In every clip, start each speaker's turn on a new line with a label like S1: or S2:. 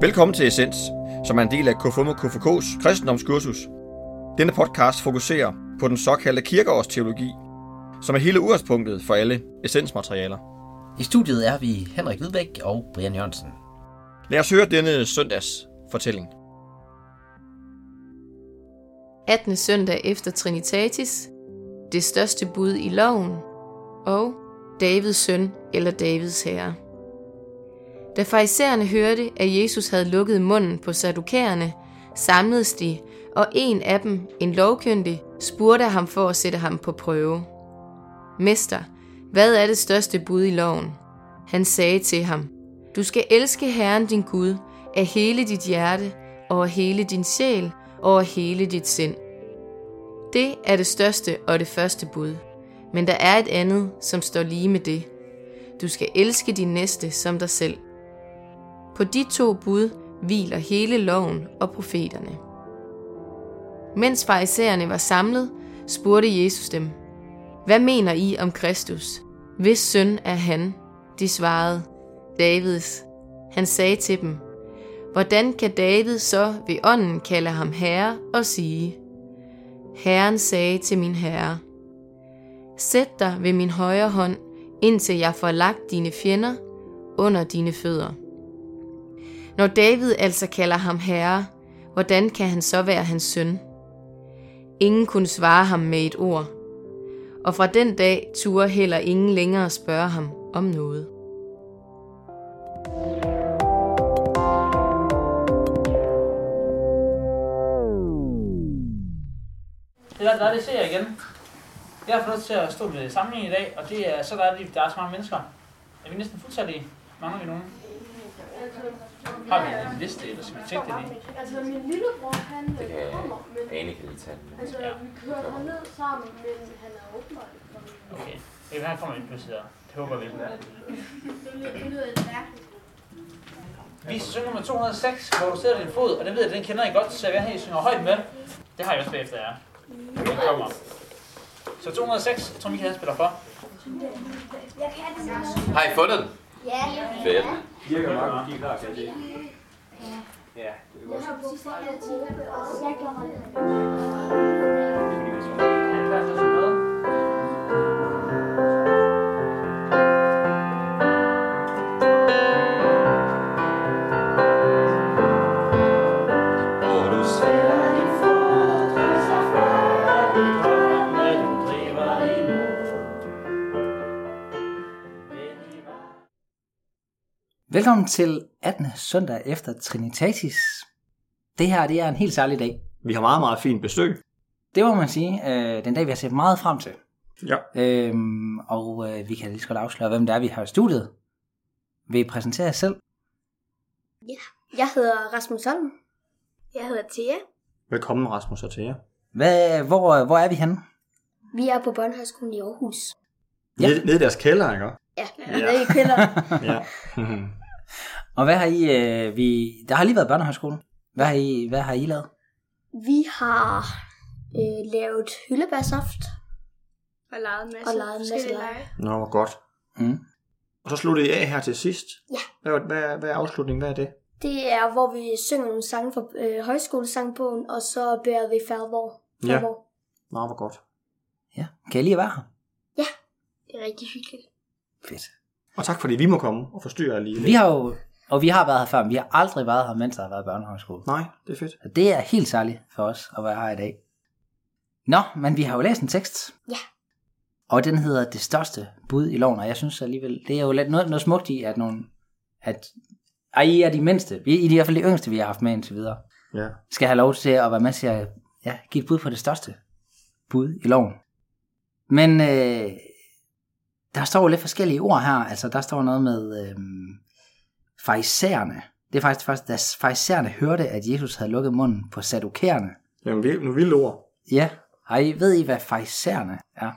S1: Velkommen til Essens, som er en del af KFUM og KFK's kristendomskursus. Denne podcast fokuserer på den såkaldte kirkeårsteologi, som er hele udgangspunktet for alle essensmaterialer.
S2: I studiet er vi Henrik Hvidbæk og Brian Jørgensen.
S1: Lad os høre denne søndags fortælling.
S3: 18. søndag efter Trinitatis, det største bud i loven, og Davids søn eller Davids herre. Da farisæerne hørte, at Jesus havde lukket munden på sadukæerne, samledes de, og en af dem, en lovkyndig, spurgte ham for at sætte ham på prøve. Mester, hvad er det største bud i loven? Han sagde til ham, Du skal elske Herren din Gud af hele dit hjerte og af hele din sjæl og af hele dit sind. Det er det største og det første bud, men der er et andet, som står lige med det. Du skal elske din næste som dig selv. På de to bud hviler hele loven og profeterne. Mens farisæerne var samlet, spurgte Jesus dem, Hvad mener I om Kristus? Hvis søn er han? De svarede, Davids. Han sagde til dem, Hvordan kan David så ved ånden kalde ham herre og sige, Herren sagde til min herre, Sæt dig ved min højre hånd, indtil jeg får lagt dine fjender under dine fødder. Når David altså kalder ham herre, hvordan kan han så være hans søn? Ingen kunne svare ham med et ord, og fra den dag turde heller ingen længere spørge ham om noget.
S4: Det er der, det ser jeg igen. Jeg har fået lov til at stå ved samlingen i dag, og det er så dejligt, der er så mange mennesker. Er vi næsten fuldtallige? Mangler vi nogen? Har vi en liste, eller skal vi tænke det lige?
S5: Altså min lillebror, han øh,
S6: Det kan
S5: kommer, men
S6: Ane kan lige tage den.
S5: altså,
S4: Ja.
S5: vi kører herned sammen, men han er åbenbart ikke kommet.
S4: Okay. Det kan være, han kommer ind pludselig der. Det håber vi.
S5: Det lyder, det lyder lidt mærkeligt.
S4: Vi synger nummer 206, hvor du sætter din fod, og det ved jeg, den kender I godt, så jeg vil have, at I synger højt med. Det har jeg også bagefter jer. Den kommer. Så 206, jeg tror Michael han spiller for.
S6: Har I fundet den?
S5: Ja,
S6: Fedt.
S7: virker meget godt, de er klar til det. Ja, det er
S5: jeg
S7: godt.
S5: har brugt for at tænke på, og jeg kommer
S4: Han er klar til at synge med.
S6: Og du ser
S2: Velkommen til 18. søndag efter Trinitatis. Det her det er en helt særlig dag.
S1: Vi har meget, meget fint besøg.
S2: Det må man sige, øh, den dag vi har set meget frem til.
S1: Ja.
S2: Øhm, og øh, vi kan lige så godt afsløre, hvem det er, vi har i studiet. Vil I præsentere jer selv?
S5: Jeg hedder Rasmus Holm. Jeg hedder Thea.
S1: Velkommen, Rasmus og Thea.
S2: Hvad, hvor, øh, hvor er vi henne?
S5: Vi er på Bornhøjskolen i Aarhus.
S2: Ja.
S1: Nede, nede i deres kælder, ikke?
S5: Ja, det er i kælder.
S1: Ja.
S2: Og hvad har I... Øh, vi, der har lige været børnehøjskole. Hvad har I, hvad har I lavet?
S5: Vi har øh, lavet hyldebærsaft.
S8: Og leget en masse
S5: Og leget en masse
S8: forskellige
S5: lege.
S1: Nå, hvor godt.
S2: Mm.
S1: Og så slutter I af her til sidst.
S5: Ja.
S1: Hvad, var- hvad, hvad er afslutningen? Hvad er det?
S5: Det er, hvor vi synger nogle sange fra øh, højskolesangbogen, og så bærer vi færvor.
S1: Ja. Nå, hvor godt.
S2: Ja, kan I lige være her?
S5: Det er rigtig hyggeligt.
S2: Fedt.
S1: Og tak fordi vi må komme og forstyrre jer lige
S2: Vi har jo... Og vi har været her før, men vi har aldrig været her, mens der har været børnehøjskole.
S1: Nej, det er fedt.
S2: Så det er helt særligt for os at være her i dag. Nå, men vi har jo læst en tekst.
S5: Ja.
S2: Og den hedder Det største bud i loven, og jeg synes alligevel, det er jo lidt noget, noget smukt i, at nogle... At, ej, I er de mindste. Vi er i hvert fald de yngste, vi har haft med indtil videre.
S1: Ja.
S2: Skal have lov til at være med til at ja, give et bud på det største bud i loven. Men øh, der står jo lidt forskellige ord her. Altså, der står noget med øh, farisæerne. Det er faktisk det første, da farisæerne hørte, at Jesus havde lukket munden på sadukæerne.
S1: Jamen, vi, nu vilde ord.
S2: Ja, har I, ved I, hvad farisæerne er?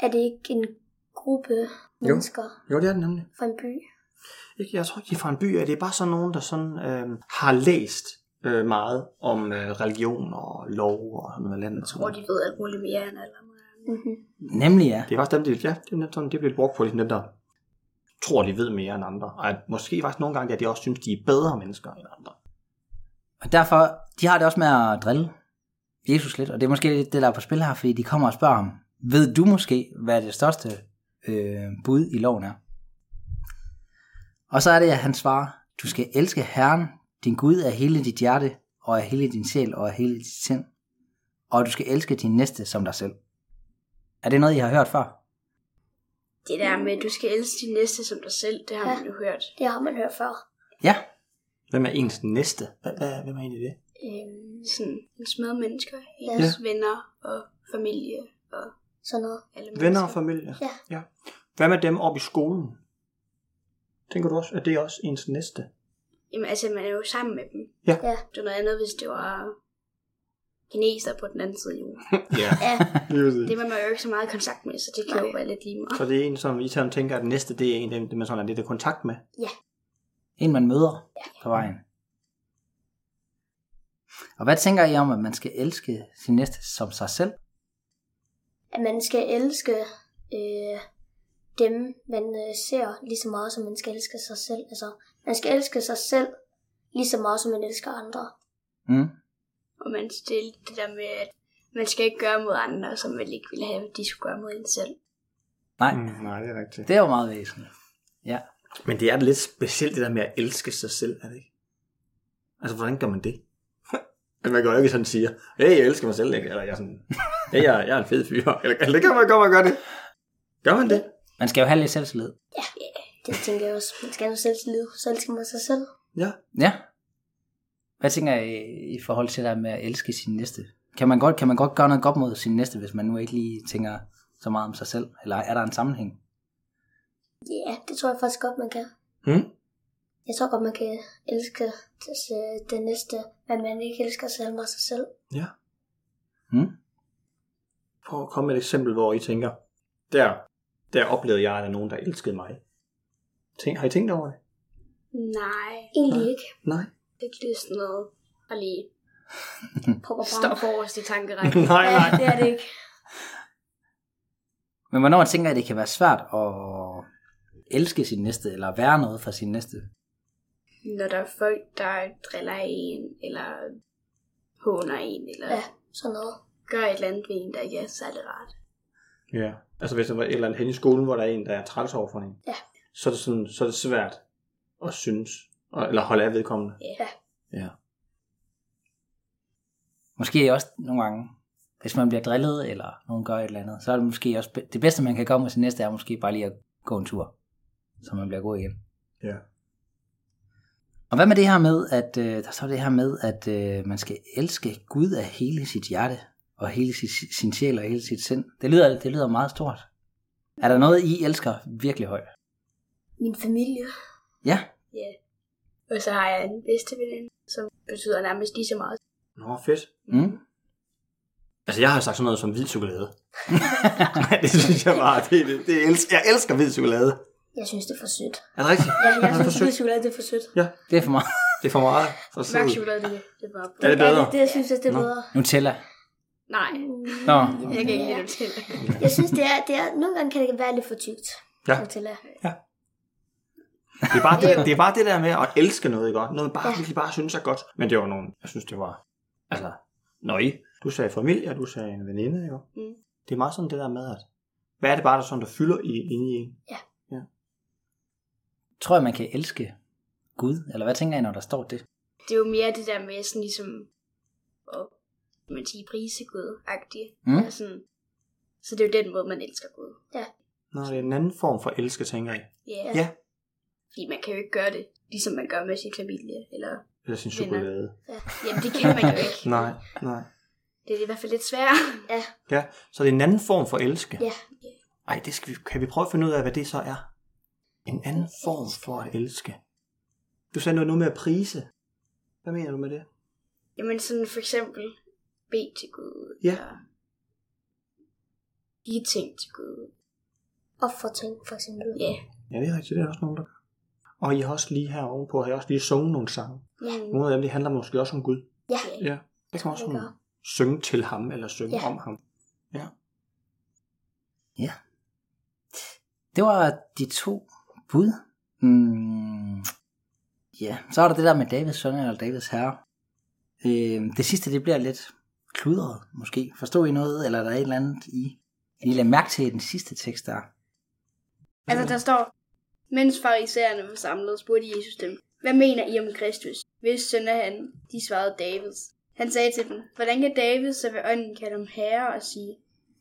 S5: Er det ikke en gruppe mennesker
S1: Jo, det er det nemlig.
S5: fra en by?
S1: Ikke, jeg tror ikke, de er fra en by. af. Det er bare sådan nogen, der sådan, øh, har læst øh, meget om øh, religion og lov og sådan noget land. Og sådan
S8: Hvor
S1: noget.
S8: de ved alt muligt mere end alle andre.
S5: Mm-hmm.
S2: Nemlig er,
S1: Det er faktisk dem, de, ja, det er nemt sådan, de bliver brugt på, ligesom dem, der
S9: tror, de ved mere end andre. Og at måske faktisk nogle gange, at de også synes, de er bedre mennesker end andre.
S2: Og derfor, de har det også med at drille Jesus lidt, og det er måske lidt det, der er på spil her, fordi de kommer og spørger ham, ved du måske, hvad det største øh, bud i loven er? Og så er det, at han svarer, du skal elske Herren, din Gud af hele dit hjerte, og af hele din sjæl, og af hele dit sind. Og du skal elske din næste som dig selv. Er det noget, I har hørt før?
S8: Det der med, at du skal elske din næste som dig selv, det har man jo hørt.
S5: Det har man hørt før.
S2: Ja,
S9: Hvem er ens næste? Hva- hva- Hvem er egentlig det?
S5: Øhm,
S8: Sådan, ens medmennesker,
S5: Ja.
S8: ens venner og familie og
S5: sådan noget.
S8: alle
S9: Venner og familie?
S5: Ja.
S9: ja. Hvad med dem oppe i skolen? Tænker du også, at det er også ens næste?
S8: Jamen altså, man er jo sammen med dem.
S9: Ja.
S5: Ja.
S8: Det er noget andet, hvis det var kineser på den anden side af jorden.
S9: Ja.
S5: Ja,
S8: Det var man jo ikke så meget i kontakt med, så det kan jo være lidt lige meget.
S9: Så det er en, som I sådan tænker, at næste, det er en, dem, man sådan er lidt i kontakt med.
S2: en man møder på vejen. Og hvad tænker I om, at man skal elske sin næste som sig selv?
S5: at man skal elske øh, dem, man øh, ser lige så meget, som man skal elske sig selv. Altså, man skal elske sig selv lige så meget, som man elsker andre.
S2: Mm.
S8: Og man stille det der med, at man skal ikke gøre mod andre, som man ikke ville have, at de skulle gøre mod en selv.
S2: Nej,
S9: Mm, nej, det er rigtigt.
S2: det er jo meget væsentligt. Ja.
S9: Men det er da lidt specielt, det der med at elske sig selv, er det ikke? Altså, hvordan gør man det? At man går jo ikke sådan og siger, hey, jeg elsker mig selv, ikke? eller jeg er, sådan, hey, jeg, er- jeg er en fed fyr, eller, eller det kan man godt, man gør det. Gør man det?
S2: Man skal jo have lidt selvtillid.
S5: Det tænker jeg også. Man skal have selv liv, så elsker man sig selv.
S9: Ja.
S2: Ja. Hvad tænker I i forhold til det der med at elske sin næste? Kan man, godt, kan man godt gøre noget godt mod sin næste, hvis man nu ikke lige tænker så meget om sig selv? Eller er der en sammenhæng?
S5: Ja, yeah, det tror jeg faktisk godt, man kan.
S9: Hmm?
S5: Jeg tror godt, man kan elske det, det næste, men man ikke elsker sig selv med sig selv.
S9: Ja.
S2: Mm?
S9: Prøv at komme med et eksempel, hvor I tænker, der, der oplevede jeg, at der er nogen, der elskede mig. Tænk, har I tænkt over det?
S8: Nej,
S5: Egentlig ikke.
S9: Nej.
S8: ikke det er sådan noget. Og lige
S5: Popper bare.
S8: stå forrest i tankerækken.
S9: nej,
S5: Ja,
S9: nej.
S5: det er det ikke.
S2: Men hvornår tænker I, det kan være svært at elske sin næste, eller være noget for sin næste?
S8: Når der er folk, der driller en, eller håner en, eller
S5: Ja,
S8: ja.
S5: sådan noget.
S8: gør et eller andet ved en, der ikke er særlig rart.
S9: Ja. Altså hvis der var et eller andet hen i skolen, hvor der er en, der er træls over for en,
S5: Ja.
S9: så, er det sådan, så er det svært at synes, og- eller holde af vedkommende.
S5: Ja.
S9: Ja.
S2: Måske også nogle gange, hvis man bliver drillet, eller nogen gør et eller andet, så er det måske også be- det bedste, man kan gøre med sin næste, er måske bare lige at gå en tur, så man bliver god igen.
S9: Ja.
S2: Og hvad med det her med, at øh, der står det her med, at øh, man skal elske Gud af hele sit hjerte, og hele sit, sin sjæl og hele sit sind. Det lyder, det lyder meget stort. Er der noget, I elsker virkelig højt?
S5: Min familie.
S2: Ja,
S8: Og så har jeg en bedste veninde, som betyder nærmest lige så meget.
S9: Nå, fedt.
S2: mm.
S9: Altså jeg har sagt sådan noget som hvid chokolade. det synes jeg bare, det, det, det elsker, jeg elsker hvid chokolade.
S5: Jeg synes, det er for sødt.
S9: Er det rigtigt?
S5: Ja, jeg
S9: Er det
S5: synes,
S9: for sødt?
S5: det er chokolade, det er for sødt.
S2: det er for meget.
S9: Det er for meget. For
S8: Mørk
S9: sødt.
S8: chokolade, det, det var
S9: Er det bedre?
S5: Ja, det, jeg synes, at det er
S9: Nå.
S5: bedre. Mm.
S2: Nutella.
S8: Nej,
S2: Nå,
S8: jeg kan ikke lide det til.
S5: Jeg synes, det er, det er, nogle gange kan det være lidt for tykt.
S9: Ja.
S5: Nutella.
S9: Det er, bare det, det er bare det der med at elske noget, ikke? også? Noget, man bare,
S5: Ja.
S9: virkelig bare synes er godt. Men det var nogle, jeg synes, det var, altså, nøje. Du sagde familie, og du sagde en veninde, jo.
S8: Mm.
S9: Det er meget sådan det der med, at hvad er det bare, der sådan, der fylder i, inde i en?
S2: tror jeg, man kan elske Gud? Eller hvad tænker I, når der står det?
S8: Det er jo mere det der med sådan ligesom, og man siger prisegud-agtigt.
S2: Mm?
S8: Og sådan, så det er jo den måde, man elsker Gud.
S9: Nå, det er en anden form for elske, tænker jeg.
S8: Ja.
S9: Ja.
S8: Fordi man kan jo ikke gøre det, ligesom man gør med sin familie. Eller,
S9: Eller sin
S8: Venner.
S9: chokolade.
S8: jamen det kan man jo ikke.
S9: Nej, nej.
S8: Det er i hvert fald lidt sværere.
S9: Ja, så det er en anden form for elske.
S5: Ja.
S9: Ej, det skal vi, kan vi prøve at finde ud af, hvad det så er? En anden form for at elske. Du sagde noget, noget med at prise. Hvad mener du med det?
S8: Jamen sådan for eksempel, bed til Gud.
S9: Ja.
S8: Eller, give ting til Gud.
S5: Opfortænk, for eksempel.
S8: Ja.
S9: Ja, det er rigtigt. Det er der også nogen, der gør. Og I har også lige her ovenpå, har I også lige sunget nogle sange.
S8: Mm.
S9: Nogle af dem, det handler måske også om Gud.
S5: Ja.
S9: Ja. Det kan man også
S5: Det
S9: sådan synge til ham, eller synge ja.
S5: Ja.
S9: om ham.
S2: Det var de to Bud? Mm, ja, så er der det der med Davids søn eller Davids herre. Øh, det sidste, det bliver lidt kludret, måske. Forstår I noget, eller er der et eller andet i? Kan I lagde mærke til den sidste tekst der?
S8: Altså, der står, mens farisæerne var samlet, spurgte Jesus dem, hvad mener I om Kristus? Hvis søn er han, de svarede Davids. Han sagde til dem, hvordan kan David så ved ånden kalde ham herre og sige,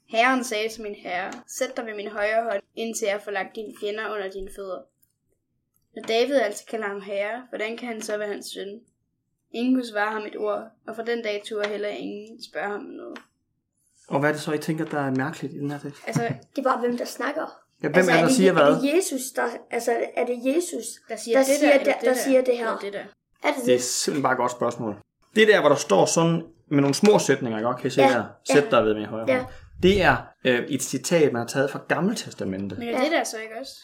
S8: Herren sagde til min herre, sæt dig ved min højre hånd, indtil jeg får lagt dine fjender under dine fødder. Når David altså kalder ham herre, hvordan kan han så være hans søn? Ingen kunne svare ham et ord, og fra den dag turde heller ingen spørge ham om noget.
S9: Og hvad er det så, I tænker, der er mærkeligt i den her tekst?
S8: Altså,
S5: Det er bare, hvem der snakker.
S9: Ja, hvem altså, er der
S5: det,
S9: siger hvad?
S5: Er det Jesus, der, altså, er det Jesus,
S8: der siger,
S5: der
S8: det,
S5: siger,
S8: der, eller
S5: der, der, siger det her?
S8: eller Det der.
S5: Er det
S9: Det
S5: det?
S9: er simpelthen bare et godt spørgsmål. Det der, hvor der står sådan med nogle små sætninger, ikke? kan I se
S5: Ja,
S9: her?
S5: ja.
S9: Sæt dig ved min højre
S5: Ja.
S9: hånd. Det er øh, et citat, man har taget fra Gammeltestamentet.
S8: Men er det der så ikke også?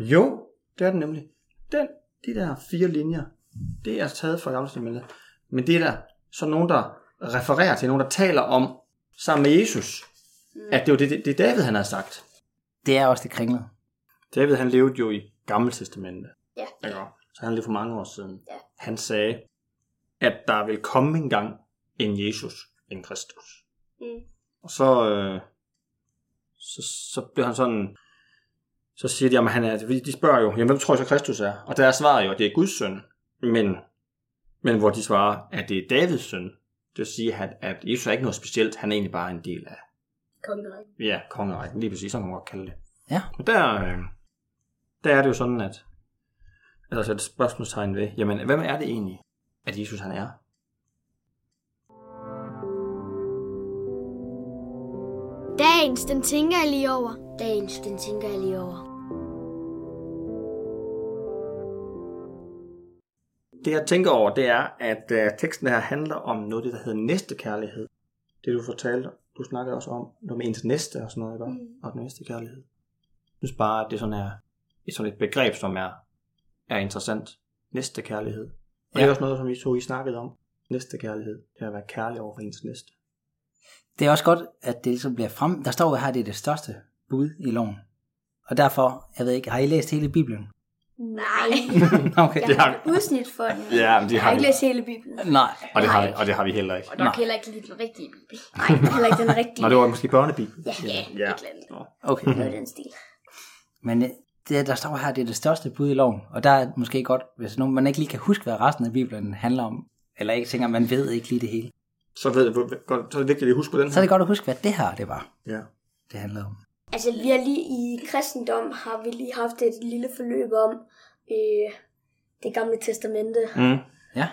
S9: Jo, det er den nemlig. Den, de der fire linjer, det er taget fra Gamle Testamentet. Men det er der så nogen, der refererer til, nogen, der taler om, sammen med Jesus, at det var det, det, det David, han havde sagt.
S2: Det er også det kringlede.
S9: David, han levede jo i Gamle Testamentet.
S5: Ja.
S9: Ikke også? Så han levede for mange år siden.
S5: Ja.
S9: Han sagde, at der vil komme en gang en Jesus, en Kristus.
S8: Mm.
S9: Og så, øh, så, så blev han sådan, så siger de, jamen han er, fordi de spørger jo, jamen hvem tror I så Kristus er? Og der er svaret jo, at det er Guds søn. Men, men hvor de svarer, at det er Davids søn. Det vil sige, at, at Jesus er ikke noget specielt, han er egentlig bare en del af
S8: Kongerækken.
S9: ja, kongerækken, lige præcis, som man godt kalde det.
S2: Ja.
S9: Og der, øh, der er det jo sådan, at at der er et spørgsmålstegn ved, jamen, hvem er det egentlig, at Jesus han er?
S10: Dagens, den tænker jeg lige over.
S5: Dagens, den tænker jeg lige over.
S9: Det, jeg tænker over, det er, at øh, teksten her handler om noget, af det der hedder næstekærlighed. Det, du fortalte, du snakkede også om, noget med ens næste og sådan noget, ikke? Mm. Og den næste kærlighed. Jeg synes bare, at det sådan er et, sådan et begreb, som er, er interessant. Næstekærlighed. Og ja. det
S2: Ja.
S9: er også noget, som I to I snakkede om. Næstekærlighed. Det er at være kærlig over for ens næste.
S2: Det er også godt, at det ligesom bliver frem... Der står jo her, at det er det største bud i loven. Og derfor, jeg ved ikke, har I læst hele Bibelen?
S5: Nej,
S2: okay.
S5: jeg
S9: Det
S5: har
S9: har-
S5: et udsnit for den.
S9: Ja, men det
S5: jeg
S9: har
S5: har ikke
S9: vi.
S5: læst hele Bibelen.
S2: Nej.
S9: Og det, har, og det har vi heller ikke.
S8: Og nok
S2: Nej.
S8: heller ikke lige den rigtige bibel.
S5: Nej, heller ikke den rigtige.
S9: Nå, det var måske børnebibel.
S5: Ja, ja,
S8: Ja, et eller andet.
S2: Okay.
S5: noget i den stil.
S2: Men øh, det, der står her, det er det største bud i loven. Og der er det måske godt, hvis nogen, man ikke lige kan huske, hvad resten af Bibelen handler om, eller ikke tænker, man ved ikke lige det hele.
S9: Så, ved, jeg godt, så er det vigtigt, at I husker på den
S2: Så er det godt at huske, hvad det her det var,
S9: Ja.
S2: det handlede om.
S5: Altså, vi har lige i kristendom har vi lige haft et lille forløb om øh, det gamle testamente,
S9: Mm.
S2: Ja,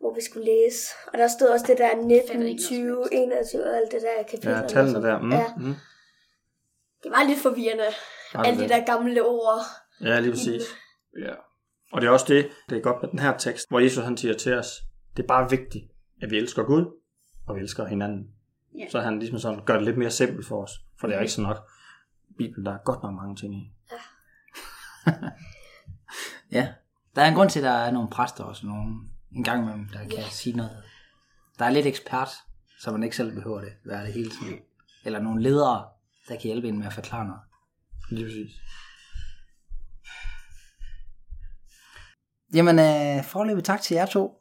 S5: hvor vi skulle læse. Og der stod også det der 19,
S8: ikke noget som
S5: 20, 21 og alt det der kapitel.
S9: Ja, tallene der. Mm.
S5: Ja,
S9: Mm.
S5: det var lidt forvirrende.
S9: Var det
S5: Alle de
S9: det?
S5: der gamle ord.
S9: Ja, lige præcis. Ja. Og det er også det, det er godt med den her tekst, hvor Jesus han siger til os, det er bare vigtigt, at vi elsker Gud, og vi elsker hinanden.
S8: Ja.
S9: Så han ligesom sådan, gør det lidt mere simpelt for os, for det er jo ikke så nok. Bibelen, der er godt nok mange ting i.
S2: ja. Der er en grund til, at der er nogle præster og sådan nogle, en gang imellem, der kan sige noget. Der er lidt ekspert, så man ikke selv behøver det, være det hele tiden. Eller nogle ledere, der kan hjælpe en med at forklare noget.
S9: Lige præcis.
S2: Jamen, øh, forløbig tak til jer to.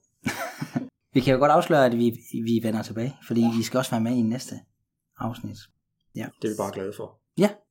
S2: vi kan jo godt afsløre, at vi, vi vender tilbage, fordi I skal også være med i næste afsnit.
S9: Det er vi bare glade for.
S2: Ja,